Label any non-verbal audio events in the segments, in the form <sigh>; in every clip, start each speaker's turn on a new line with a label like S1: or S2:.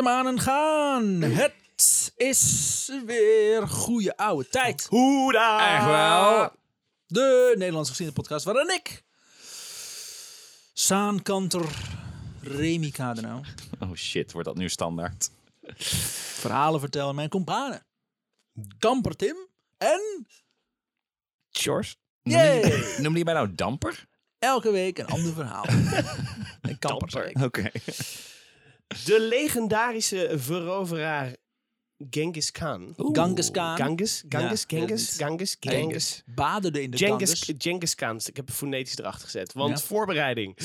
S1: Hermanen gaan. Het is weer goede oude tijd.
S2: Hoera!
S1: Echt wel. De Nederlandse geschiedenispodcast waarin ik, Saan Kanter, Remy Kadenau,
S2: Oh shit, wordt dat nu standaard?
S1: verhalen vertel aan mijn companen. Kamper Tim en
S2: George?
S1: Jee!
S2: <laughs> Noemde je mij nou damper?
S1: elke week een ander
S3: <laughs>
S1: verhaal. en kamper, zeg ik.
S2: <laughs> Oké.
S3: De legendarische veroveraar Genghis Khan.
S1: Genghis Khan.
S3: Genghis, Genghis,
S1: Ja,
S3: Genghis,
S1: dat is-
S3: Genghis,
S1: Genghis.
S3: Genghis.
S1: Baderde in de
S3: Genghis,
S1: Ganges.
S3: Genghis Khan. Ik heb het fonetisch erachter gezet. Want
S1: Ja. <laughs>
S3: voorbereiding.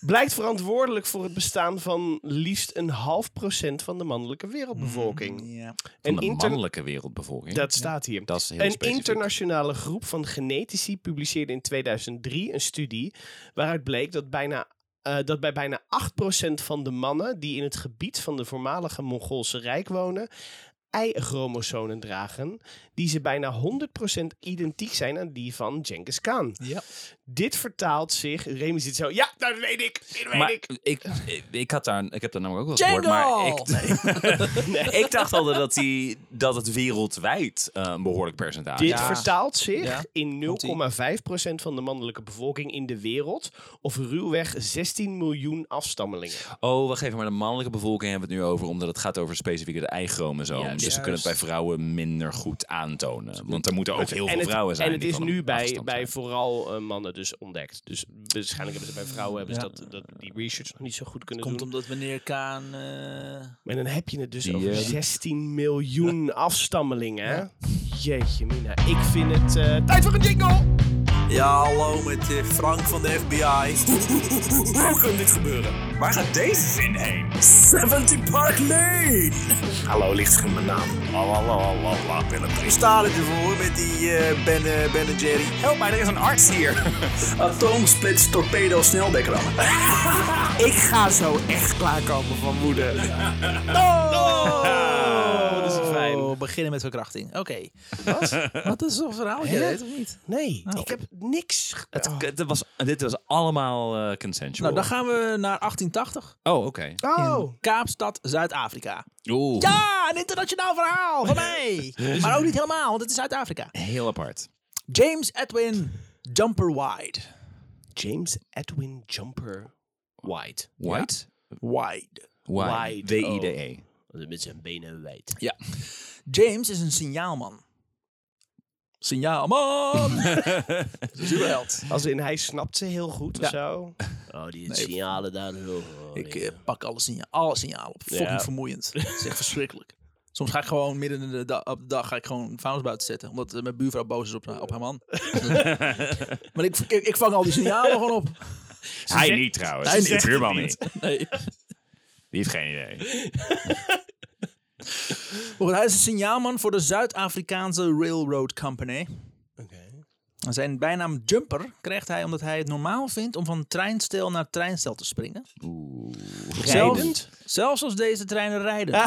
S3: Blijkt verantwoordelijk voor het bestaan van liefst een half procent van de mannelijke wereldbevolking.
S1: Ja.
S2: Van
S3: Een
S2: de
S3: inter-
S2: mannelijke wereldbevolking.
S3: Dat staat hier.
S2: Dat is heel
S3: Een
S2: specifiek.
S3: internationale groep van genetici publiceerde in 2003 een studie waaruit bleek dat, bijna, eh, dat bij bijna 8% van de mannen die in het gebied van de voormalige Mongoolse Rijk wonen, Y-chromosomen dragen, die ze bijna 100% identiek zijn aan die van Genghis Khan.
S1: Ja.
S3: Dit vertaalt zich, Remy zit zo, ja, dat weet ik, dat weet
S2: Maar
S3: ik.
S2: ik, ik, had daar, ik heb daar namelijk ook wel gehoord,
S1: Django!
S2: maar ik,
S3: <laughs>
S2: <laughs> ik dacht al dat, die, dat het wereldwijd eh, een behoorlijk percentage
S3: Dit
S2: is.
S1: Ja.
S3: vertaalt zich
S1: Ja.
S3: in
S1: Komt-ie.
S3: 0,5% van de mannelijke bevolking in de wereld, of ruwweg 16 miljoen afstammelingen.
S2: Oh, wacht even, maar de mannelijke bevolking hebben we het nu over, omdat het gaat over specifiek de ei-chromosoom.
S3: Juist.
S2: dus ze kunnen het bij vrouwen minder goed aantonen. Want er moeten ook heel veel
S3: het,
S2: vrouwen zijn.
S3: en het
S2: die
S3: is
S2: van
S3: nu
S2: hem
S3: bij,
S2: afgestamd
S3: bij
S2: zijn.
S3: vooral eh, mannen dus ontdekt. Dus waarschijnlijk hebben ze bij vrouwen hebben ze
S1: Ja.
S3: dat, dat, die research nog niet zo goed kunnen
S1: Komt
S3: doen.
S1: omdat meneer Kaan... eh,
S3: En dan heb je het dus
S2: Die,
S3: over
S2: eh,
S3: 16 miljoen afstammelingen. hè? Jeetje mina, ik vind het eh, tijd voor een jingle!
S4: Ja, hallo met eh, Frank van de FBI. Hoe kan dit gebeuren? Waar gaat deze zin heen? 70 Park Lane! Hallo, lichtscherm mijn naam. Lalalala, Willem. Ik sta er voor met die eh ben, eh, ben en Jerry. Help mij, er is een arts <laughs> hier. Atoomsplits, torpedo, snelbekrammen. <laughs> Ik ga zo echt klaarkomen van <laughs> woede.
S3: Oh, dat is fijn.
S1: Oh, beginnen met verkrachting. Oké. Wat? Wat is zo'n verhaal? Je
S3: Hè?
S1: weet of niet?
S3: Nee, ik heb niks. ge-
S2: Nou. Het,
S3: Oh.
S2: het was, dit was allemaal eh, consensual.
S1: Nou, dan gaan we naar 1880.
S2: Oh, oké.
S3: Oh,
S1: In Kaapstad, Zuid-Afrika.
S2: Oeh,
S1: Ja, een internationaal verhaal van
S3: <laughs>
S1: mij. maar ook niet helemaal, want het is Zuid-Afrika.
S2: heel apart.
S1: James Edwin Jumper Wide.
S3: James Edwin Jumper White.
S2: White?
S1: Wide.
S2: Wide.
S3: Wide, oh.
S2: W-I-D-E.
S3: Met zijn benen wijd.
S1: Ja. James is een signaalman.
S3: <laughs>
S1: Signaalman! Superheld.
S3: Als in, hij snapt ze heel goed
S1: Ja.
S3: of zo. Oh, die signalen daar. Oh,
S1: Ik eh, pak alle signalen, alle signalen op. Fucking
S3: Ja.
S1: vermoeiend.
S3: <laughs>
S1: Het is echt verschrikkelijk. Soms ga ik gewoon midden in de, da- op de dag ga ik gewoon vuilnis buiten zetten. Omdat eh, mijn buurvrouw boos is op, op haar man. maar ik, ik, ik vang al die signalen gewoon op.
S2: Hij niet trouwens.
S1: Hij
S2: Hij
S1: niet.
S2: niet. Buurman niet.
S1: Nee.
S2: Die heeft geen idee.
S1: Maar goed, hij is een signaalman voor de Zuid-Afrikaanse Railroad Company. En Zijn bijnaam Jumper krijgt hij omdat hij het normaal vindt om van treinstel naar treinstel te springen. Zelfs,
S3: Rijdend?
S1: zelfs als deze treinen rijden. <laughs>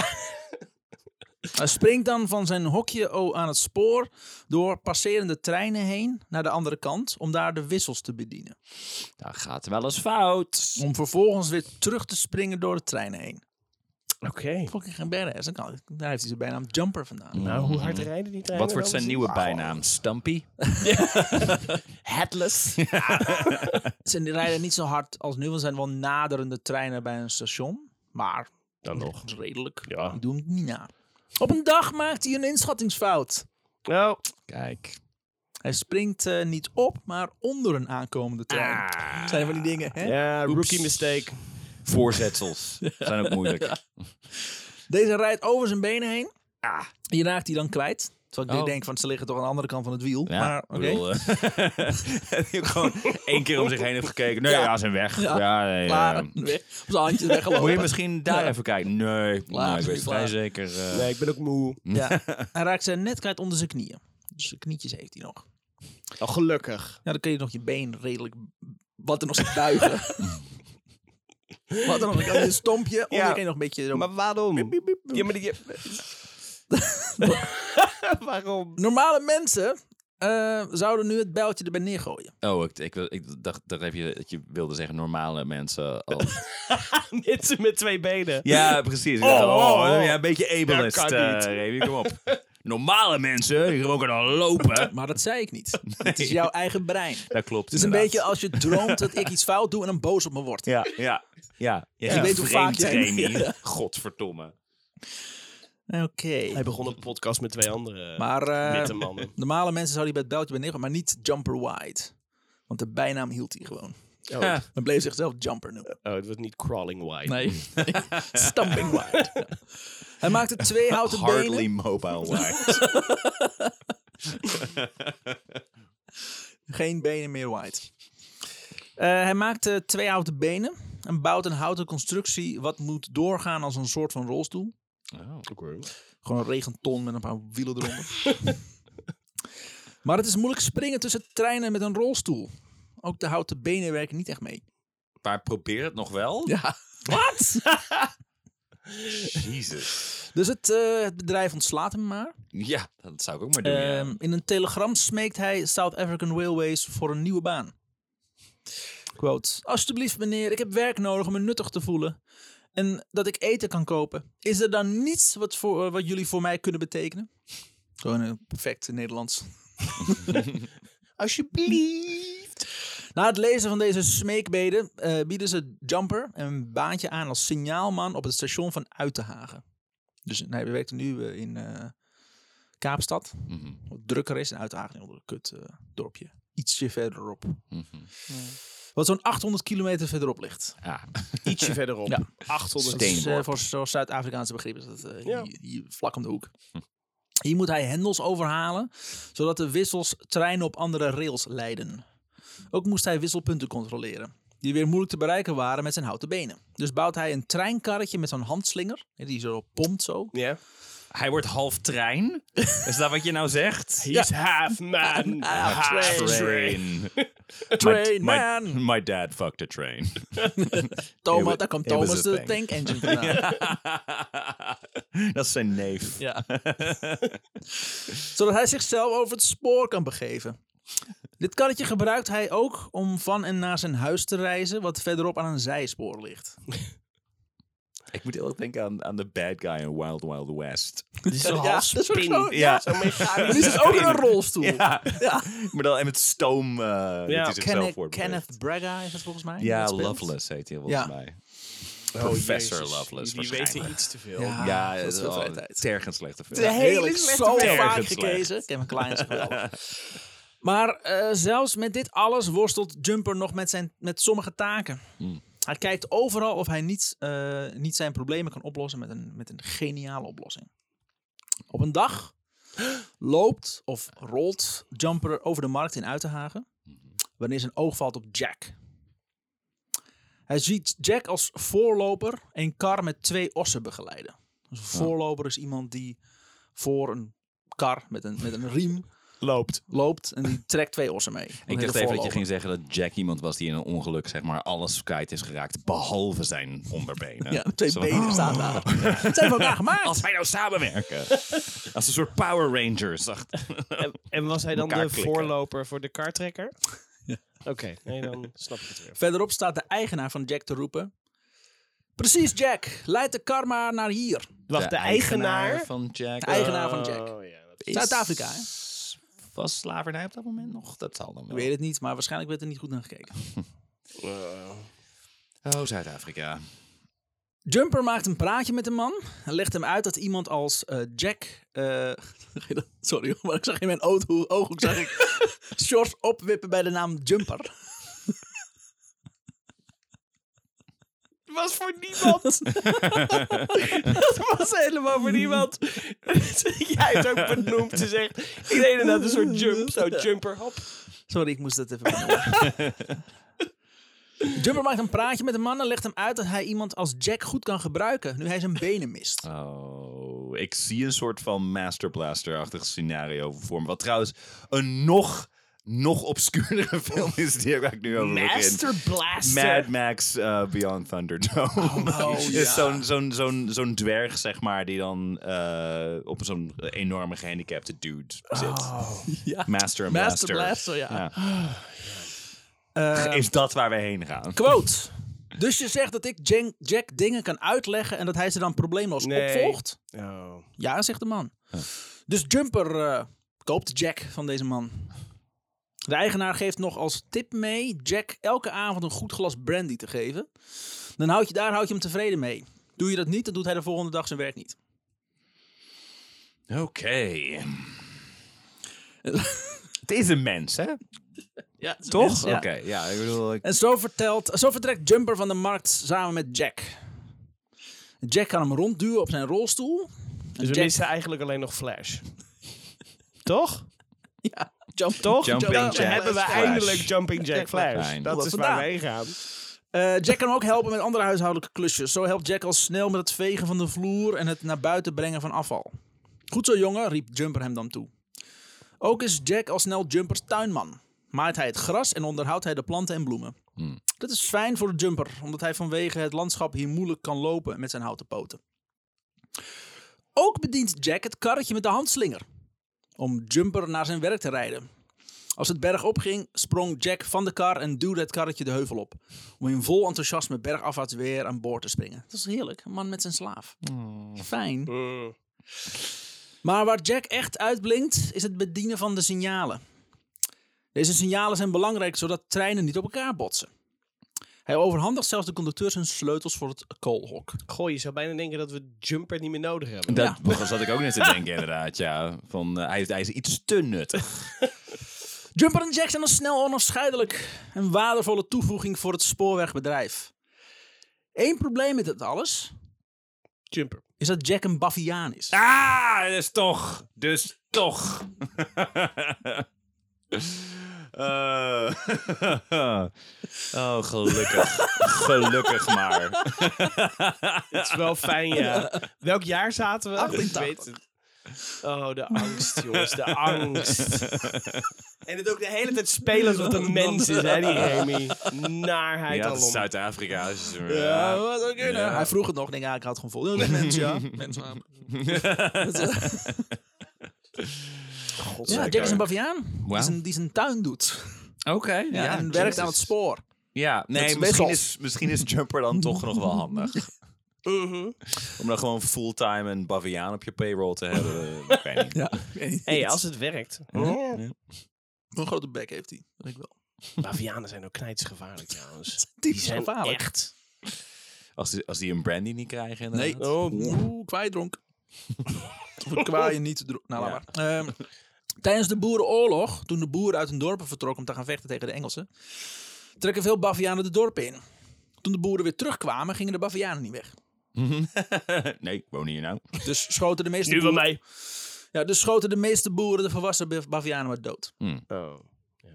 S1: Hij springt dan van zijn hokje o- aan het spoor door passerende treinen heen naar de andere kant om daar de wissels te bedienen.
S2: Dat gaat wel eens fout.
S1: Om vervolgens weer terug te springen door de treinen heen.
S3: Oké.
S1: Fucking geen badass. Dan kan- Daar heeft hij zijn bijnaam Jumper vandaan.
S3: Nou, hoe hard rijden die treinen?
S2: Wat wordt zijn
S3: dan precies?
S2: nieuwe bijnaam? Stumpy?
S3: Headless.
S1: Ze rijden niet zo hard als nu, want er zijn wel naderende treinen bij een station. Maar
S3: Dan nog.
S1: dat is redelijk.
S3: Ja.
S1: Die doen het niet na. Op een dag maakt hij een inschattingsfout.
S3: Nou,
S2: Kijk.
S1: Hij springt eh, niet op, maar onder een aankomende trein.
S2: Ah.
S1: Zijn van die dingen, hè?
S3: ja, rookie mistake.
S2: Voorzetsels zijn ook moeilijk.
S1: Deze rijdt over zijn benen heen. Die raakt hij dan kwijt. Terwijl ik
S2: Ah. Oh.
S1: denk, van ze liggen toch aan de andere kant van het wiel.
S2: Ja,
S1: maar
S2: ik
S1: oké.
S2: bedoel, eh, <laughs> die ook gewoon één keer om zich heen heeft gekeken. Nee, ja, zijn weg. Ja,
S1: <laughs>
S2: nee,
S1: Klaar.
S2: ja.
S1: Weg. Op zijn handjes weggelopen.
S2: eh, Moet je misschien daar even kijken? Nee,
S1: Klaar,
S2: nee, ik
S1: is
S2: weet
S1: niet
S2: vrij
S1: klaar.
S2: zeker. eh,
S3: Nee, ik ben ook moe.
S1: Ja. Hij raakt zijn net kwijt onder zijn knieën. Dus zijn knietjes heeft hij nog.
S3: Oh, gelukkig.
S1: Ja, dan kun je nog je been redelijk wat er nog zit buigen. wat er nog kan je een stompje, onder
S3: Ja.
S1: kun je nog een beetje zo-
S3: Maar waarom? Ja, maar die... <laughs> waarom?
S1: Normale mensen eh, zouden nu het bijltje erbij neergooien.
S2: Oh, ik, ik, ik dacht, dacht even dat je wilde zeggen normale mensen. als-
S3: Mensen met twee benen.
S2: <laughs> ja, precies. Ik
S3: Oh,
S2: dacht,
S3: oh, oh.
S2: Ja, een beetje ableist.
S3: Dat kan
S2: eh,
S3: niet.
S2: Remy, kom <laughs> op. Normale mensen, die gewoon kunnen lopen.
S1: Maar dat zei ik niet. Het is jouw eigen brein. Het
S2: <laughs> Dat klopt.
S1: is een beetje als je droomt dat ik iets fout doe en dan boos op me wordt.
S2: Ja, ja, ja. ja
S1: weet hoe vaak jij-
S2: Remy. Godverdomme.
S1: Oké.
S3: Hij begon een podcast met twee andere
S1: Maar eh,
S3: witte mannen.
S1: normale mensen zouden die bij het beltje bij neergooien, maar niet Jumper Wide. Want de bijnaam hield hij gewoon.
S3: Oh,
S2: Ja.
S1: Dan bleef zichzelf Jumper noemen.
S3: oh, het was niet crawling
S1: <laughs>
S3: wide.
S1: Nee. Stamping wide. Ja. <laughs> Hij maakte twee houten
S2: Hardly
S1: benen. <laughs>
S2: mobile wide.
S1: Geen benen meer wide. Eh, hij maakte twee houten benen. En bouwt een houten constructie wat moet doorgaan als een soort van rolstoel.
S2: Oh,
S1: Gewoon een regenton met een paar wielen <laughs> eronder. maar het is moeilijk springen tussen treinen met een rolstoel. Ook de houten benen werken niet echt mee.
S2: Maar probeer het nog wel.
S1: Ja. <laughs>
S2: Wat? Jezus.
S1: Dus het, eh, het bedrijf ontslaat hem maar.
S2: Ja, dat zou ik ook maar doen. ja.
S1: Ehm, in een telegram smeekt hij South African Railways voor een nieuwe baan. Quote. Alsjeblieft meneer, ik heb werk nodig om me nuttig te voelen. En dat ik eten kan kopen. Is er dan niets wat, voor, eh, wat jullie voor mij kunnen betekenen? Gewoon een perfect Nederlands.
S3: Alsjeblieft.
S1: Na het lezen van deze smeekbeden eh, bieden ze Jumper een baantje aan als signaalman op het station van Uitenhagen. Dus nee, we werken nu eh, in eh, Kaapstad.
S2: Mhm,
S1: Wat drukker is. En Uitenhagen is een heel kut eh, dorpje. Ietsje verderop.
S2: mhm.
S1: Wat zo'n 800 kilometer verderop ligt.
S2: Ja.
S3: <laughs> Ietsje verderop.
S1: Ja.
S3: 800.
S1: Dat is, eh,
S2: Steenworp.
S1: voor zo- Zuid-Afrikaanse begrip is dat eh,
S3: Ja.
S1: hier, hier vlak om de hoek. Hier moet hij hendels overhalen, zodat de wissels treinen op andere rails leiden. Ook moest hij wisselpunten controleren, die weer moeilijk te bereiken waren met zijn houten benen. Dus bouwt hij een treinkarretje met zo'n handslinger, hè, die zo pompt zo.
S3: Ja.
S2: Hij wordt half trein. Is dat wat je nou zegt?
S3: He's half man, half train.
S2: <laughs>
S1: Train
S2: My- my,
S1: man!
S2: my dad fucked a train.
S1: Thomas,
S2: was-
S1: daar kwam
S2: it was
S1: Thomas
S2: a
S1: de
S2: thing.
S1: tank engine vandaan.
S2: <laughs> dat is zijn neef.
S1: Ja. Zodat hij zichzelf over het spoor kan begeven. Dit karretje gebruikt hij ook om van en naar zijn huis te reizen, wat verderop aan een zijspoor ligt.
S2: Ik moet heel erg denken aan, aan de bad guy in Wild Wild West.
S3: Dit is Oh, een
S1: Ja,
S3: half
S1: dat is ook
S3: spin.
S1: zo, ja.
S2: Ja.
S3: Zo'n mechanisch.
S1: Dit is ook in een rolstoel.
S2: <laughs> Ja.
S1: Ja.
S2: Maar dan en met stoom. eh ja, dat hij zichzelf
S1: Kenneth,
S2: voor
S1: Kenneth Braga is dat volgens mij. die
S2: Ja,
S1: dat speelt.
S2: Loveless heet hij volgens
S1: Ja.
S2: mij.
S3: Oh,
S2: Professor
S3: Jezus.
S2: Loveless
S3: Die weten
S2: waarschijnlijk.
S3: iets te veel.
S1: Ja,
S2: ja,
S1: Ah, dat
S2: dat
S1: is
S2: is
S1: veel
S2: wel
S1: vrije
S2: een
S1: tijd.
S2: terg een slechte film.
S1: De hele
S2: slechte
S1: zo
S2: film.
S1: Oh, vaak
S2: Erg slecht.
S1: gekeken. Ik heb een klein geweldig. Maar eh, zelfs met dit alles worstelt Jumper nog met, zijn, met sommige taken. Hij kijkt overal of hij niet, eh, niet zijn problemen kan oplossen met een, met een geniale oplossing. Op een dag <gasps> loopt of rolt Jumper over de markt in Uitenhagen. Wanneer zijn oog valt op Jack. Hij ziet Jack als voorloper een kar met twee ossen begeleiden. Dus een voorloper is iemand die voor een kar met een, met een riem
S3: Loopt.
S1: loopt en die trekt twee ossen mee.
S2: Ik dacht even dat je ging zeggen dat Jack iemand was die in een ongeluk zeg maar alles kwijt is geraakt, behalve zijn onderbenen.
S1: Ja, twee
S2: Zo van,
S1: benen staan daar. Dat zijn we elkaar gemaakt.
S2: eh, Oh. Als wij nou samenwerken.
S1: <laughs>
S2: Als een soort Power Rangers. Dacht.
S3: En, en was hij dan
S2: Elkaar
S3: de
S2: klikken.
S3: voorloper voor de kartrekker? Oké, nee, dan snap ik het weer.
S1: Verderop staat de eigenaar van Jack te roepen. Precies Jack, leid de kar maar naar hier.
S3: Wacht, de, eigenaar?
S2: van Jack. eh,
S1: De eigenaar van Jack.
S3: Oh, ja, dat-
S2: is-
S1: Zuid-Afrika, hè?
S2: Was slavernij op dat moment nog? Dat zal dan
S1: Ik
S2: wel.
S1: weet het niet, maar waarschijnlijk werd er niet goed naar gekeken.
S2: Oh, Zuid-Afrika.
S1: Jumper maakt een praatje met de man en legt hem uit dat iemand als eh, Jack. eh, <laughs> sorry, hoor, maar ik zag in mijn ooghoek, ooghoek zag
S2: <laughs>
S1: ik shorts opwippen bij de naam Jumper.
S3: <laughs> was voor <laughs> niemand. dat was helemaal voor niemand. <laughs> Jij hebt ook benoemd. Ze zegt, ik deed inderdaad een soort jump. Zo, jumper, hop.
S1: Sorry, ik moest dat even. benoemen. Jumper maakt een praatje met de man en legt hem uit dat hij iemand als Jack goed kan gebruiken nu hij zijn benen mist.
S2: Oh, ik zie een soort van Master Blaster-achtig scenario voor me. Wat trouwens een nog nog obscuurdere <laughs> film is die waar ik nu over begin.
S3: Master Blaster.
S2: Mad Max eh, Beyond Thunderdome. <laughs> is
S1: Oh, ja.
S2: zo'n, zo'n, zo'n, zo'n dwerg, zeg maar, die dan eh, op zo'n enorme gehandicapte dude zit.
S1: Oh, Ja.
S2: Master en
S1: Master
S2: Blaster.
S1: Blaster, ja. Eh,
S2: Is dat waar we heen gaan?
S1: Quote. Dus je zegt dat ik Jen- Jack dingen kan uitleggen en dat hij ze dan probleemloos
S3: Nee.
S1: opvolgt?
S3: Oh.
S1: Ja, zegt de man. Dus Jumper eh, koopt Jack van deze man. De eigenaar geeft nog als tip mee Jack elke avond een goed glas brandy te geven. Dan houd je, daar houd je hem tevreden mee. Doe je dat niet, dan doet hij de volgende dag zijn werk niet.
S2: Oké. Deze mens, hè?
S1: Ja,
S2: Toch?
S1: Ja.
S2: Oké, ja. Ik bedoel, ik-
S1: En zo, vertelt, zo vertrekt Jumper van de markt samen met Jack. Jack kan hem rondduwen op zijn rolstoel.
S3: Dus we
S1: Jack-
S3: missen eigenlijk alleen nog Flash. Toch?
S1: Ja, jump,
S3: Toch?
S2: Jumping
S3: Dan
S2: Jack
S3: hebben we
S2: Flash.
S3: eindelijk Jumping Jack Flash.
S2: Fijn.
S3: Dat
S1: Wat
S3: is waar we
S1: vandaan?
S3: heen gaan.
S1: Eh, Jack kan hem ook helpen met andere huishoudelijke klusjes. Zo helpt Jack al snel met het vegen van de vloer en het naar buiten brengen van afval. Goed zo, jongen, riep Jumper hem dan toe. Ook is Jack al snel Jumpers tuinman. Maait hij het gras en onderhoudt hij de planten en bloemen. Dat is fijn voor Jumper, omdat hij vanwege het landschap hier moeilijk kan lopen met zijn houten poten. Ook bedient Jack het karretje met de handslinger. Om Jumper naar zijn werk te rijden. Als het berg opging, sprong Jack van de kar en duwde het karretje de heuvel op. Om in vol enthousiasme bergafwaarts weer aan boord te springen. Dat is heerlijk, een man met zijn slaaf. Fijn.
S3: Mm.
S1: Maar waar Jack echt uitblinkt, is het bedienen van de signalen. Deze signalen zijn belangrijk zodat treinen niet op elkaar botsen. Hij overhandigt zelfs de conducteurs hun sleutels voor het koolhok.
S3: Goh, je zou bijna denken dat we Jumper niet meer nodig hebben.
S2: <laughs> Dat zat ik ook net te denken, inderdaad. Ja. Van, eh, hij, hij is iets te
S3: <laughs>
S2: nuttig.
S1: Jumper en Jack zijn dan snel onafscheidelijk. Een waardevolle toevoeging voor het spoorwegbedrijf. Eén probleem met het alles
S3: Jumper.
S1: is dat Jack een baviaan is.
S2: Ah, dus toch. Dus toch. <laughs> Eh, <laughs> oh, gelukkig. Gelukkig maar.
S3: Dat is wel fijn, ja. Welk jaar zaten we?
S1: 88.
S3: Ik weet het. Oh, de angst, jongens. De angst. En het ook de hele tijd spelen alsof het een mens is, hè, die Remy. Naarheid
S2: Ja, dat
S3: alom.
S2: is Zuid-Afrika. dus, eh,
S1: Ja, wat ook kunnen. Hij vroeg het nog. Ik denk, ja, ik had gewoon vol. Ja, mens, ja. <laughs> Mens, ja. ja,
S2: Godzeker.
S1: Jack is een baviaan.
S2: Wauw.
S1: Die, zijn, die zijn tuin doet.
S2: Oké.
S1: Ja, en
S2: Jezus.
S1: werkt aan het spoor.
S2: Ja,
S1: is
S2: nee,
S1: best
S2: misschien
S1: wel-
S2: is, misschien is Jumper dan toch nog wel
S1: <laughs>
S2: handig.
S1: Uh-huh.
S2: Om dan gewoon fulltime een baviaan op je payroll te hebben. eh, ik weet niet.
S1: <laughs> Ja.
S3: Hé, als het werkt.
S1: Een grote bek heeft hij. Dat weet ik wel.
S3: Bavianen zijn ook knijtsgevaarlijk, trouwens.
S1: Die zijn gevaarlijk.
S3: echt...
S2: Als, die, als die een brandy niet krijgen inderdaad.
S1: Nee. oh, Oeh, <laughs> kwaaidronk. of een kwaaien niet te dro- Nou, laat maar. Ehm, tijdens de boerenoorlog, toen de boeren uit hun dorpen vertrokken om te gaan vechten tegen de Engelsen, trekken veel bavianen de dorpen in. Toen de boeren weer terugkwamen, gingen de bavianen niet weg.
S2: <laughs> nee, ik woon hier nou.
S1: Dus schoten de meeste
S3: Nu van
S1: boeren-
S3: mij.
S1: Ja, dus schoten de meeste boeren de volwassen bav- bavianen maar dood.
S3: Oh.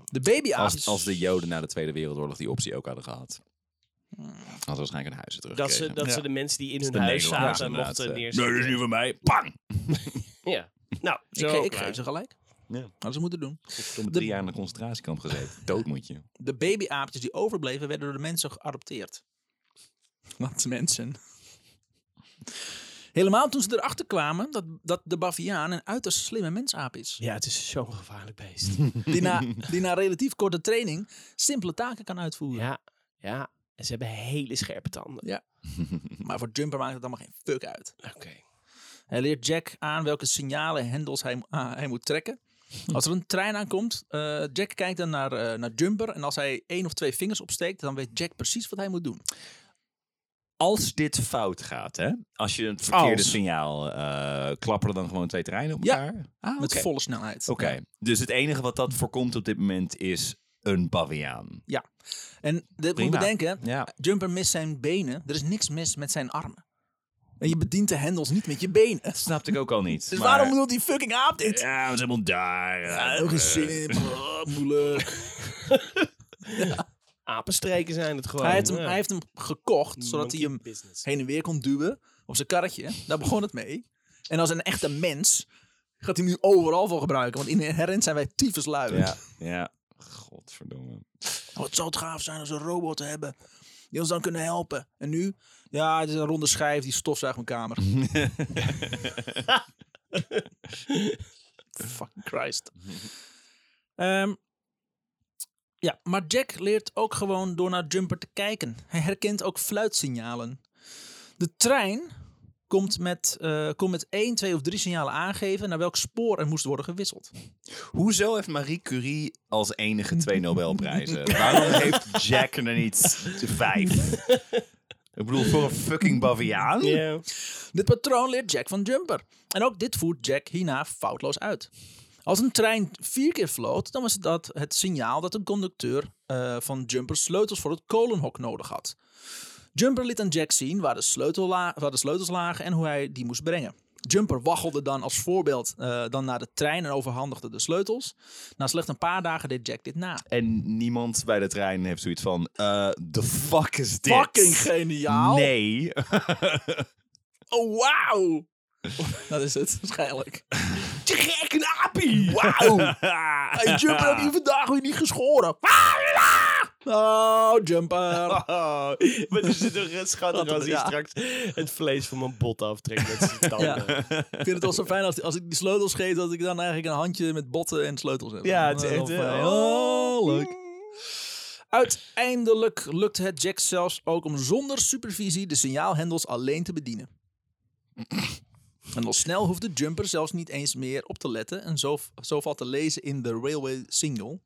S1: De babyavond.
S2: Hm. Als, als de Joden na de Tweede Wereldoorlog die optie ook hadden gehad. Hadden Hmm. ze dus waarschijnlijk hun huizen terug.
S3: Dat, ze, dat ze de mensen die in hun
S2: de
S3: huis
S2: Nederlanders
S3: zaten
S2: inderdaad,
S3: mochten
S2: eh,
S3: neerzetten.
S2: Nee, dat is niet van mij. Bang!
S3: Ja. Nou,
S1: Ik,
S3: zo
S1: ge- ik
S3: klaar.
S1: geef ze gelijk.
S2: Ja.
S1: Hadden ze moeten doen.
S2: Toen drie jaar in de concentratiekamp gezeten. Dood moet je.
S1: De babyaapjes die overbleven werden door de mensen geadopteerd. Wat mensen. Helemaal toen ze erachter kwamen dat, dat de baviaan een uiterst slimme mensaap is.
S3: Ja, het is zo'n gevaarlijk beest. <laughs>
S1: Die na,
S2: <laughs>
S1: die na relatief korte training simpele taken kan uitvoeren.
S3: ja, ja. En ze hebben hele scherpe tanden.
S1: Maar voor Jumper maakt het allemaal geen fuck uit.
S3: Oké.
S1: Hij leert Jack aan welke signalen en hendels hij, mo- ah, hij moet
S2: <laughs>
S1: trekken. Als er een trein aankomt, eh, Jack kijkt dan naar, eh, naar Jumper. En als hij één of twee vingers opsteekt, dan weet Jack precies wat hij moet doen.
S2: Als dit fout gaat, hè? Als je het verkeerde
S3: Als.
S2: signaal eh klapperen dan gewoon twee treinen op
S1: Ja.
S2: elkaar? Ah,
S1: Met
S2: oké.
S1: volle snelheid.
S2: Oké, dus het enige wat dat voorkomt op dit moment is een baviaan.
S1: Ja. En dit moet
S2: Prima.
S1: je bedenken,
S2: Ja.
S1: Jumper mist zijn benen. Er is niks mis met zijn armen. En je bedient de hendels niet met je benen.
S2: <laughs> Dat snapte ik ook al niet.
S1: Dus
S2: maar-
S1: waarom doet die fucking aap dit? Ja,
S2: Ja, we zijn helemaal daar. eh,
S1: ook geen zin in. Brrr, moeilijk.
S3: Apenstreken zijn het gewoon.
S1: Hij heeft, hem,
S3: Ja.
S1: hij heeft hem
S2: Mm,
S1: gekocht, zodat hij
S3: Monkey
S1: hem
S3: business.
S1: heen en weer kon duwen op zijn karretje. Daar begon het mee. En als een echte mens gaat hij hem nu overal voor gebruiken. Want inherent zijn wij tyfus lui.
S2: Ja, ja. Godverdomme.
S1: Wat zou het gaaf zijn als we een robot hebben die ons dan kunnen helpen. En nu? Ja, het is een ronde schijf die stofzuigt mijn <laughs> kamer. Fucking Christ. Ehm, ja, maar Jack leert ook gewoon door naar Jumper te kijken. Hij herkent ook fluitsignalen. De trein komt met, eh kon met één, twee of drie signalen aangeven naar welk spoor er moest worden gewisseld.
S2: Hoezo heeft Marie Curie als enige twee <laughs> Nobelprijzen? Waarom heeft Jack er niet vijf? Ik bedoel, voor een fucking baviaan?
S3: Ja.
S1: Dit patroon leert Jack van Jumper. En ook dit voert Jack hierna foutloos uit. Als een trein vier keer floot, dan was dat het signaal dat een conducteur eh, van Jumper sleutels voor het kolenhok nodig had. Jumper liet aan Jack zien waar de, sleutel la- waar de sleutels lagen en hoe hij die moest brengen. Jumper waggelde dan als voorbeeld eh, dan naar de trein en overhandigde de sleutels. Na slechts een paar dagen deed Jack dit na.
S2: En niemand bij de trein heeft zoiets van... eh the fuck is dit?
S1: Fucking geniaal!
S2: Nee.
S1: Oh, wauw! dat is het, waarschijnlijk.
S2: Je gek, een apie!
S1: <laughs> Wauw! Hey, Jumper heb je vandaag weer niet geschoren. Oh, Jumper. <laughs>
S3: Oh, <laughs> maar er zit een rest schattig als hij
S1: Ja.
S3: straks het vlees van mijn bot aftrekt met zijn tanden. <laughs> Ja,
S1: Ik vind het wel zo fijn als, als ik die sleutels geef, dat ik dan eigenlijk een handje met botten en sleutels heb.
S3: het is
S1: Dan
S3: echt...
S1: wel
S3: eh,
S1: fijn.
S3: oh, leuk.
S1: Uiteindelijk lukt het Jack zelfs ook om zonder supervisie de signaalhendels alleen te bedienen. En al snel hoeft de jumper zelfs niet eens meer op te letten en zo, zo valt te lezen in de Railway Single.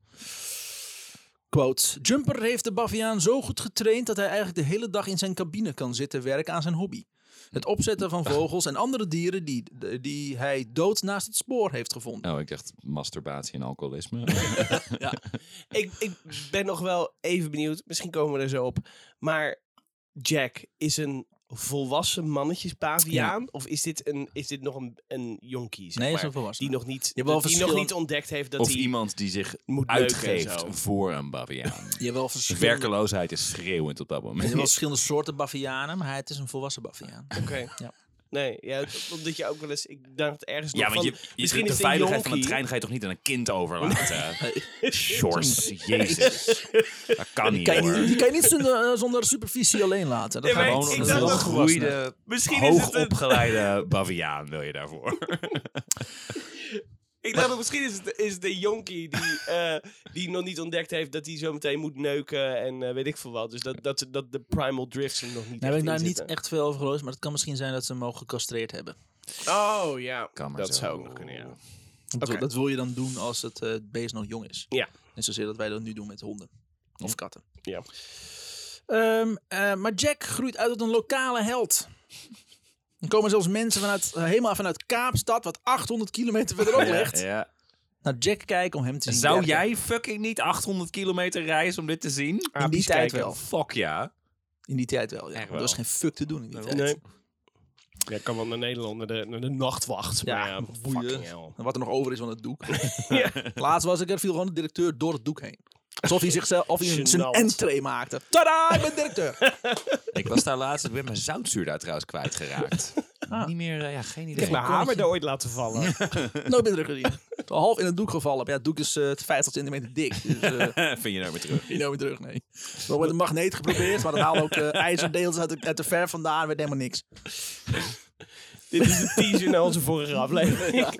S1: Quote, Jumper heeft de baviaan zo goed getraind dat hij eigenlijk de hele dag in zijn cabine kan zitten werken aan zijn hobby. Het opzetten van vogels en andere dieren die, die hij dood naast het spoor heeft gevonden.
S2: Oh, ik dacht masturbatie en <laughs> alcoholisme.
S3: Ik, ik ben nog wel even benieuwd, misschien komen we er zo op. Maar Jack is een volwassen mannetjespaviaan? Of is dit, een, is dit nog een, een jonkie, zeg
S1: Nee, is
S3: maar,
S1: een volwassen.
S3: Die nog niet,
S1: hebt wel
S3: die nog
S1: verschillen-
S3: niet ontdekt heeft dat
S2: of
S3: hij...
S2: iemand die zich
S3: Moet neuken en
S2: uitgeeft
S3: zo.
S2: voor een baviaan.
S1: Je hebt wel verschillende,
S2: <laughs> Werkeloosheid is schreeuwend op dat
S1: je hebt
S2: moment.
S1: wel verschillende soorten bavianen, maar het is een volwassen baviaan.
S3: Oké.
S1: Ja.
S3: Nee, ja, omdat je ook wel eens... Ik dacht ergens nog
S2: Ja, want
S3: van,
S2: je, je
S3: misschien
S2: de
S3: is het een
S2: veiligheid van een
S3: jonkie.
S2: trein ga je toch niet aan een kind overlaten? <laughs> Sjors, jezus. Dat kan niet
S1: Kan je
S2: hoor.
S1: niet, die kan je niet zonder, eh, zonder supervisie alleen laten. Dat
S3: Ja,
S1: gaat
S3: maar
S1: gewoon
S3: ik
S1: een
S3: dacht nog-
S1: volwassene.
S2: Hooggegroeide,
S3: Misschien is het een-
S2: hoogopgeleide baviaan wil je daarvoor. <laughs>
S3: Ik dacht, dat misschien is het, is het de jonkie die, eh, die nog niet ontdekt heeft dat hij zo meteen moet neuken en eh, weet ik veel wat. Dus dat, dat, dat de primal drifts hem nog niet
S1: Daar heb
S3: echt
S1: ik daar
S3: in
S1: niet
S3: zitten.
S1: echt veel over geloofd, maar het kan misschien zijn dat ze hem ook gecastreerd hebben.
S3: Oh, ja.
S2: Kan maar
S3: dat
S2: zo.
S3: zou ook nog kunnen, ja.
S1: Dat wil- Dat wil je dan doen als het eh, beest nog jong is.
S3: Ja.
S1: Net zozeer dat wij dat nu doen met honden. Of katten.
S3: Ja.
S1: Ehm, eh, maar Jack groeit uit tot een lokale held. Er komen zelfs mensen vanuit, eh, helemaal vanuit Kaapstad, wat 800 kilometer verderop ligt,
S2: Ja.
S1: naar Jack kijken om hem te zien.
S2: Zou
S1: werken.
S2: jij fucking niet 800 kilometer reizen om dit te zien?
S1: in die
S3: aapjes
S1: tijd
S3: kijken?
S1: Ah, wel?
S2: Fuck ja.
S1: In die tijd wel, ja.
S2: Echt
S1: Want Er was
S2: wel.
S1: geen fuck te doen in die tijd.
S3: Nee. Ja, ik kan wel naar Nederland, naar de, naar de nachtwacht.
S1: Nou Ja,
S3: maar ja,
S1: boeien.
S3: <laughs> fucking hell.
S1: En wat er nog over is van het
S3: <laughs>
S1: doek. <laughs> Laatst was ik er, viel gewoon de directeur door het doek heen. Alsof hij zichzelf, of hij zijn
S3: Gênant.
S1: entree maakte. Tada, ik ben
S3: <laughs>
S1: directeur.
S2: Ik was daar laatst, ik ben mijn zoutzuur daar trouwens <laughs> kwijtgeraakt. Niet meer, eh, ja, geen
S3: Ik heb
S2: idee.
S3: mijn hamer daar ooit laten vallen.
S1: Nooit meer teruggezien. Zo Half in het doek gevallen. Maar ja, het doek is eh 50 centimeter dik. Dus
S3: <laughs>
S1: eh
S2: <laughs> Vind je nou weer terug?
S1: niet nooit meer terug, nee. Wel met een magneet geprobeerd, maar dat haalde ook eh ijzerdeels uit de, uit de ver vandaan. Werd helemaal niks.
S3: <laughs> Dit is de teaser naar onze vorige aflevering.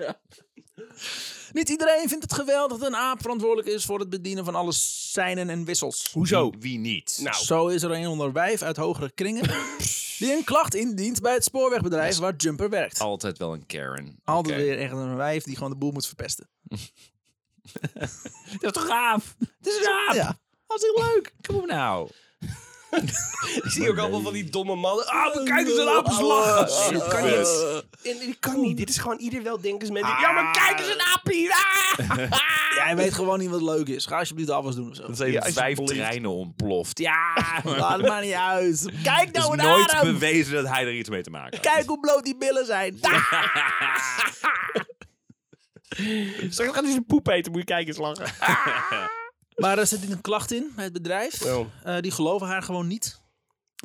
S1: Niet iedereen vindt het geweldig dat een aap verantwoordelijk is voor het bedienen van alle seinen en wissels.
S2: Hoezo? Wie, wie niet?
S3: Nou,
S1: Zo is er een onder wijf uit hogere kringen die een klacht indient bij het spoorwegbedrijf waar Jumper werkt.
S2: Altijd wel een Karen.
S1: Altijd
S2: Oh, Oké.
S1: weer echt een wijf die gewoon de boel moet verpesten.
S2: <laughs> Dat is toch gaaf? Het is een aap.
S1: Ja.
S2: Hartstikke leuk. Kom op nou.
S3: <laughs> ik zie ook allemaal van die domme mannen. Ah, we
S1: Kijk
S3: kijken
S1: eens,
S3: ze
S1: een
S3: lapen lachen.
S1: Shit,
S3: kan
S1: vet.
S3: niet. En dit kan niet. Dit is gewoon ieder weldenkensmens. die- Ja, maar kijk eens een appie. Ah. <laughs>
S1: Jij weet gewoon niet wat leuk is. Ga alsjeblieft de afwas doen of zo.
S2: Dat zijn vijf treinen ontploft. <laughs> Ja. nou,
S1: Laat het maar niet uit. Kijk
S2: Het is
S1: nou naar
S2: nooit
S1: hem.
S2: bewezen dat hij er iets mee te maken had.
S1: Kijk hoe bloot die billen zijn. Ah!
S3: Straks gaat hij zijn poep eten. Moet je kijken eens <laughs> lachen.
S1: Maar er zit een klacht in bij het bedrijf.
S3: Oh.
S1: Eh, die geloven haar gewoon niet.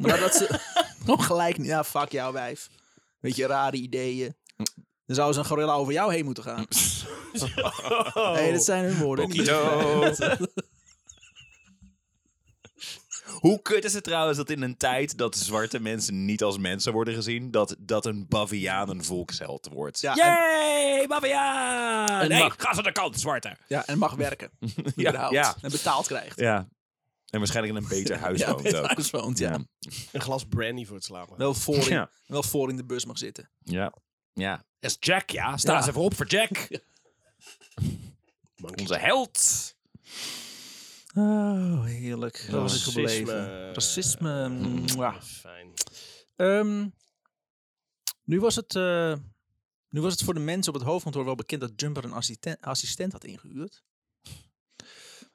S1: Maar dat ze... Nog gelijk niet. Ja, fuck jou wijf. Weet je, rare ideeën. Dan zou zo'n gorilla over jou heen moeten gaan. Nee, dat zijn hun woorden.
S2: Okido. <laughs> Hoe kut is het trouwens dat in een tijd dat zwarte mensen niet als mensen worden gezien, dat, dat een baviaan een volksheld wordt?
S1: Ja, en,
S2: Yay, baviaan!
S1: En
S2: Nee,
S1: mag-
S2: ga ze de kant, zwarte!
S1: ja, en mag werken. überhaupt.
S2: <laughs> ja.
S1: En betaald krijgt.
S2: Ja. En waarschijnlijk in een <laughs> beter
S1: <laughs>
S2: huis
S1: Ja,
S2: woont ook.
S1: thuis woont, ja.
S3: Een glas brandy voor het slapen.
S1: Wel, voor in,
S2: Ja.
S1: wel voor in de bus mag zitten.
S2: Ja. Ja. Is Jack, ja?
S1: <laughs>
S2: Sta
S1: Ja.
S2: eens even op voor Jack. Onze held.
S1: Oh, heerlijk. Zo was het gebleven.
S3: Racisme.
S1: Racisme. mm, mwah.
S3: Fijn.
S1: Ehm, nu, was het, eh, nu was het voor de mensen op het hoofdkantoor wel bekend dat Jumper een assistent, assistent had ingehuurd.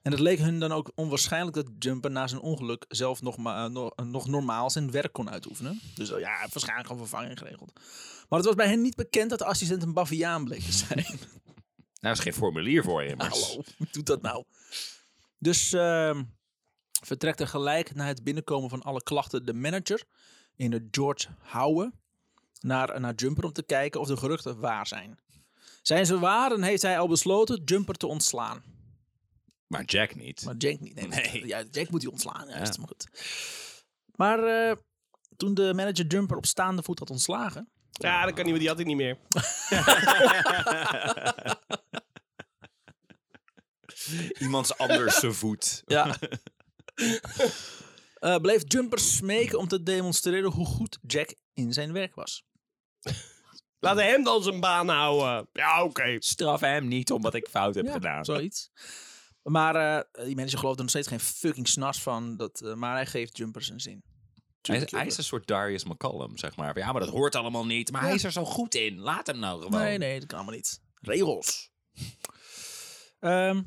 S1: En het leek hun dan ook onwaarschijnlijk dat Jumper na zijn ongeluk zelf nog, ma- eh, no- eh, nog normaal zijn werk kon uitoefenen. Dus eh, ja, waarschijnlijk gewoon vervanging geregeld. Maar het was bij hen niet bekend dat de assistent een baviaan bleek te zijn.
S2: Nou, is geen formulier voor je, maar...
S1: Hallo, <laughs> wie doet dat nou? Dus ehm, vertrekt er gelijk na het binnenkomen van alle klachten de manager in de George Houwe naar, naar Jumper om te kijken of de geruchten waar zijn. Zijn ze waar en heeft hij al besloten Jumper te ontslaan.
S2: Maar Jack niet.
S1: Maar Jack niet. Nee,
S2: Nee.
S1: Ja, Jack moet hij ontslaan, juist.
S2: Ja.
S1: Maar goed. Maar eh, toen de manager Jumper op staande voet had ontslagen,
S3: Ja, dat kan niet meer. Die had ik niet meer.
S2: <laughs> Iemands anders zijn voet.
S1: Ja. <laughs> Eh, bleef Jumper smeken om te demonstreren hoe goed Jack in zijn werk was.
S3: Laten hem dan zijn baan houden. Ja, oké.
S2: Straf hem niet omdat ik fout heb
S1: Ja,
S2: gedaan.
S1: zoiets. Maar eh, die manager gelooft er nog steeds geen fucking snars van. Dat, eh, maar hij geeft Jumper zijn zin.
S2: Hij is, hij is een soort Darius McCallum, zeg maar. Ja, maar dat hoort allemaal niet. Maar hij is er zo goed in. Laat hem nou gewoon.
S1: Nee, nee, dat kan allemaal niet. Regels. Ehm,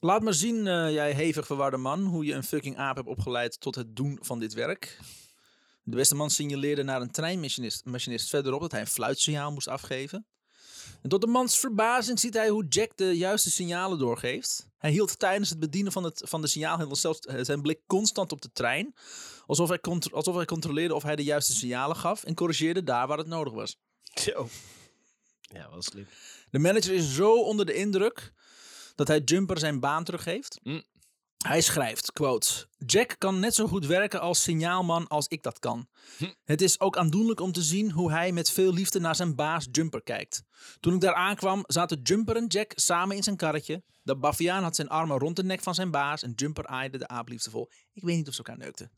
S1: laat maar zien, eh, jij hevig verwarde man, hoe je een fucking aap hebt opgeleid tot het doen van dit werk. De beste man signaleerde naar een treinmachinist machinist verderop dat hij een fluitsignaal moest afgeven. En tot de mans verbazing ziet hij hoe Jack de juiste signalen doorgeeft. Hij hield tijdens het bedienen van, het, van de signaalhendel zelfs eh, zijn blik constant op de trein. Alsof hij, contro- alsof hij controleerde of hij de juiste signalen gaf en corrigeerde daar waar het nodig was.
S3: Zo. Ja, wel slim.
S1: De manager is zo onder de indruk dat hij Jumper zijn baan teruggeeft.
S2: Mm.
S1: Hij schrijft, quote, Jack kan net zo goed werken als signaalman als ik dat kan. Het is ook aandoenlijk om te zien hoe hij met veel liefde naar zijn baas Jumper kijkt. Toen ik daar aankwam, zaten Jumper en Jack samen in zijn karretje. De baviaan had zijn armen rond de nek van zijn baas en Jumper aaide de aap liefdevol. Ik weet niet of ze elkaar neukten.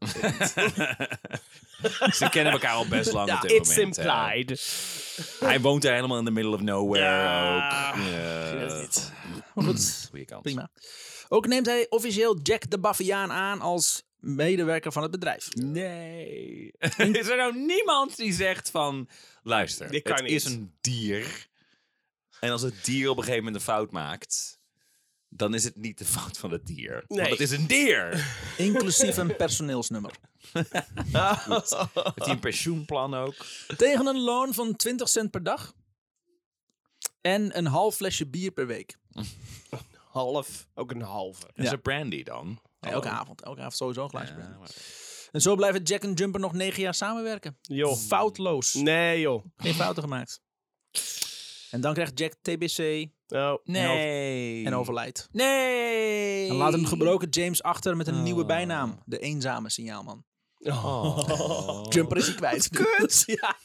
S2: Ze kennen elkaar al
S1: <laughs>
S2: best lang op dit
S3: It's
S2: moment. hè.
S3: implied.
S2: Hij woont daar helemaal in the middle of nowhere
S3: Ja.
S2: ook. Ja.
S1: Maar goed,
S2: Goeie kans.
S1: prima. Ook neemt hij officieel Jack de baviaan aan als medewerker van het bedrijf.
S2: <laughs> Nee. is er nou niemand die zegt van... Luister,
S3: Dit kan
S2: het
S3: niet.
S2: is een dier. En als het dier op een gegeven moment een fout maakt... dan is het niet de fout van het dier. Want
S3: Nee.
S2: het is een
S3: <laughs>
S2: dier.
S1: Inclusief een personeelsnummer.
S2: Heeft hij een pensioenplan ook?
S1: Tegen een loon van 20 cent per dag. En een half flesje bier per week.
S3: Half. Ook een halve.
S2: Is er brandy dan? Oh.
S1: Nee, elke avond. Elke avond sowieso een glaasje brandy. En zo blijven Jack en Jumper nog negen jaar samenwerken.
S3: Joh.
S1: Foutloos.
S3: Nee, joh.
S1: Geen fouten gemaakt. En dan krijgt Jack TBC
S3: Nou,
S2: Nee.
S1: en overlijdt.
S2: Nee.
S1: En laat een gebroken James achter met een nieuwe bijnaam. De eenzame signaalman.
S3: Oh. <laughs>
S1: Jumper is hij kwijt. Kut! <laughs> ja.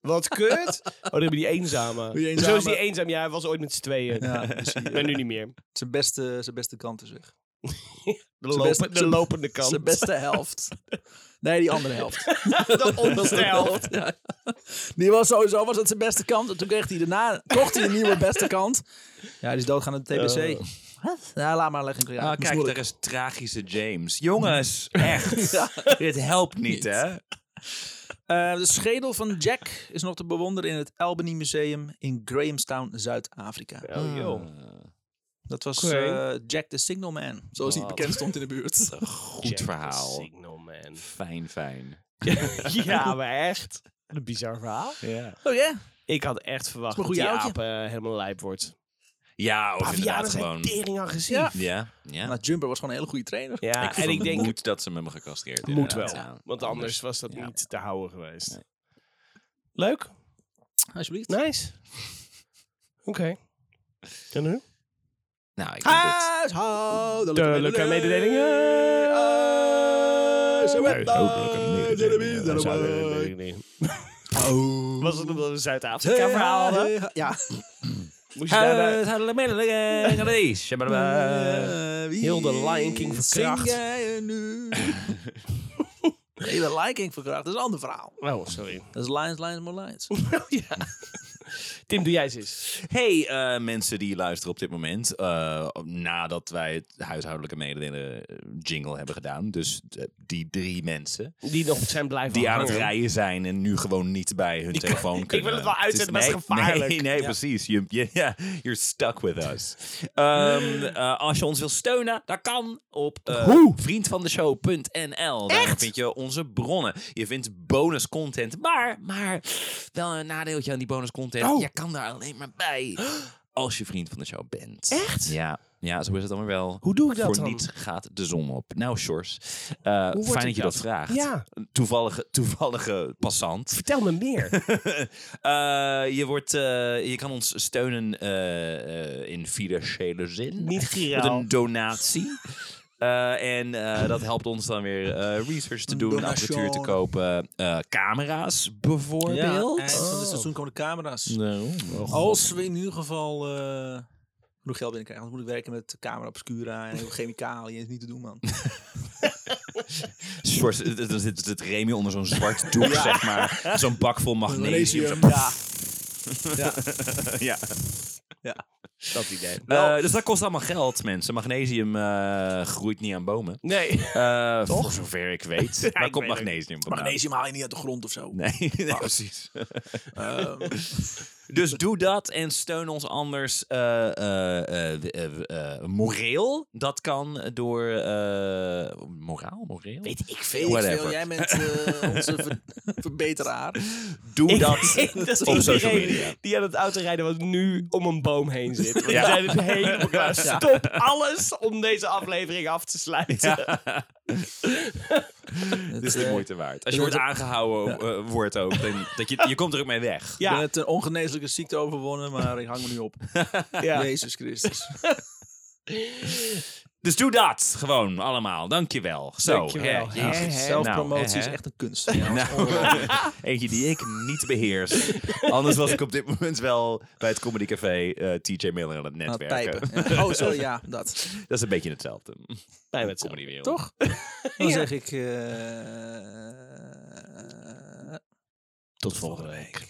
S3: Wat kut. Oh, dan hebben die eenzame.
S1: Die eenzame.
S3: Zo is die eenzaam. Ja, hij was ooit met z'n tweeën.
S1: ja dus hij,
S3: Ik
S1: eh,
S3: ben nu niet meer.
S1: zijn, beste, zijn beste kant is weg.
S3: De,
S1: Zijn
S3: lopen-
S1: beste-
S3: de
S1: zijn-
S3: lopende kant.
S1: Zijn beste helft. Nee, die andere helft.
S3: <laughs> de onderste helft.
S1: Ja. Die was sowieso was dat zijn beste kant. En toen kreeg hij daarna kocht hij een nieuwe beste kant. Ja, die is doodgaan aan de TBC. Wat? Ja, laat maar leggen. Ja,
S2: Ah,
S1: moest
S2: kijk, daar
S1: moeilijk.
S2: is tragische James. Jongens,
S3: <laughs>
S2: echt. Dit helpt niet, hè?
S3: Ah.
S1: Eh, de schedel van Jack is nog te bewonderen in het Albany Museum in Grahamstown, Zuid-Afrika.
S3: Oh, joh.
S1: Dat was
S3: Oké.
S1: eh, Jack the Signalman, zoals hij
S2: Wat.
S1: bekend stond in de buurt.
S2: Goed verhaal.
S3: man.
S2: Fijn, fijn.
S3: ja, maar echt. Wat Een bizar verhaal.
S2: Ja,
S1: Oh ja?
S3: Ik had echt verwacht
S1: Is
S3: dat
S1: maar
S3: die
S1: een goeie
S3: aap eh, helemaal lijp wordt.
S2: ja of
S3: Pavianen
S2: inderdaad
S3: zijn
S2: gewoon...
S3: tering agressief.
S1: Ja.
S2: Ja, ja.
S1: Nou, Jumper was gewoon een hele goede trainer.
S3: Ja,
S2: ik
S3: en ik denk,
S2: moet dat ze me hebben gecastreerd.
S3: moet wel.
S2: inderdaad. Ja.
S3: Want anders was dat
S2: ja.
S3: niet te houden geweest. Leuk.
S1: alsjeblieft.
S3: Nice. Oké. En nu?
S2: Nou, ik vind het.
S1: Huishoudelijke
S3: Duidelijke mededelingen. Oh. <laughs> Was het omdat we Zuid-Afrika verhaal hadden?
S1: Ja.
S3: Moest je daarna...
S1: Heel
S3: de Lion King verkracht.
S1: Eh, Zing jij er nu? Nee, de Lion King verkracht. Dat is een ander verhaal.
S2: <laughs>
S3: Oh, sorry. Oh,
S1: Dat is Lions, Lions, More Lions.
S3: ja. Tim, doe jij eens eens.
S2: Hey eh, mensen die luisteren op dit moment, eh, nadat wij het huishoudelijke mededelen eh, jingle hebben gedaan, dus eh, die drie mensen
S3: Die nog zijn blijven
S2: die aan het
S3: hangen.
S2: rijden zijn en nu gewoon niet bij hun telefoon kunnen.
S3: wil het wel
S2: is-
S3: uitzetten, maar het is
S2: nee,
S3: gevaarlijk.
S2: Nee, nee, precies. Je, je, ja, you're stuck with us. Ehm, eh, als je ons wil steunen, dat kan op eh, vriendvandeshow.nl. Daar vind je onze bronnen. Je vindt bonus content, maar, maar wel een nadeeltje aan die bonus content.
S3: Oh.
S2: Je kan daar alleen maar bij als je vriend van de show bent.
S3: Echt?
S2: Ja. Ja, zo is het dan weer wel.
S3: Hoe doe ik dat
S2: Voor
S3: dan?
S2: niets gaat de zon op. Nou, Sjors, eh, fijn
S3: word
S2: dat
S3: ik
S2: je
S3: dat?
S2: dat vraagt.
S3: Ja.
S2: Een toevallige, toevallige passant. <laughs>
S3: Vertel me meer.
S2: Eh, je, wordt, eh, je kan ons steunen eh, eh, in financiële zin.
S3: Niet
S2: Met
S3: giraal.
S2: een donatie. Eh, en eh, dat helpt ons dan weer eh, research te doen,
S1: donation.
S2: apparatuur te kopen, eh, camera's bijvoorbeeld.
S1: eind van dit seizoen komen de camera's.
S2: Nou, oh,
S1: Als we in ieder geval eh, genoeg geld binnenkrijgen. Anders moet ik werken met camera obscura en heel veel chemicaliën. is niet te
S2: <laughs>
S1: doen, man.
S2: Sjors, eh, dan zit het Remy onder zo'n
S3: <laughs>
S2: zwart doek, zeg maar. Zo'n bak vol magnesium.
S1: Magnesium. Ja.
S2: ja.
S3: Dat idee.
S2: Eh, dus dat kost allemaal geld, mensen. Magnesium eh, groeit niet aan bomen.
S3: Nee.
S2: Eh, Voor zover ik
S3: <laughs>
S2: weet. Waar komt
S3: weet het. Oh,
S2: magnesium vandaan?
S1: Magnesium haal je niet uit de grond of zo.
S2: Nee, nee, precies. <laughs>
S1: Ehm,
S2: Dus doe dat en steun ons anders eh, eh, eh, eh, eh, moreel. Dat kan door... eh, moraal? Moreel?
S3: Weet ik
S1: weet
S3: veel.
S1: ik
S2: Whatever.
S1: veel, jij bent
S2: <laughs>
S1: eh, onze ver- verbeteraar.
S2: Doe
S3: <laughs> Ik
S2: dat <laughs>
S3: denk dat
S2: op social
S3: iedereen
S2: media.
S3: die aan het autorijden was nu om een boom heen zit. Want
S2: Ja.
S3: we zijn het
S2: <laughs>
S3: helemaal klaar. Stop alles om deze aflevering af te sluiten.
S2: Dit is de
S1: eh,
S2: moeite waard. Als je wordt aangehouden, eh, wordt ook. Dan, dat je, je komt er ook mee weg.
S1: Ik ben
S3: Ja,
S1: het een ongeneeslijke ziekte overwonnen, maar ik hang me nu op.
S3: ja.
S1: Jezus Christus.
S2: Dus doe dat gewoon allemaal. Dankjewel. Zo,
S3: Dankjewel.
S2: hè,
S3: Ja,
S2: jezus.
S3: hè,
S1: Zelfpromotie
S2: Nou, hè,
S1: is
S2: hè.
S1: echt een kunst.
S2: <laughs>
S1: Ja.
S2: Nou,
S1: Oh.
S2: eentje die ik niet beheers. Anders was ik op dit moment wel bij het Comedy Café eh, TJ Miller aan het
S1: Aan het
S2: netwerken.
S1: pijpen.
S2: <laughs>
S1: Ja. Oh, sorry, ja, dat.
S2: Dat is een beetje hetzelfde.
S3: Bij met
S2: Comedy wereld. <laughs>
S1: Toch? Dan
S3: Ja.
S1: zeg ik... eh,
S2: Tot volgende week.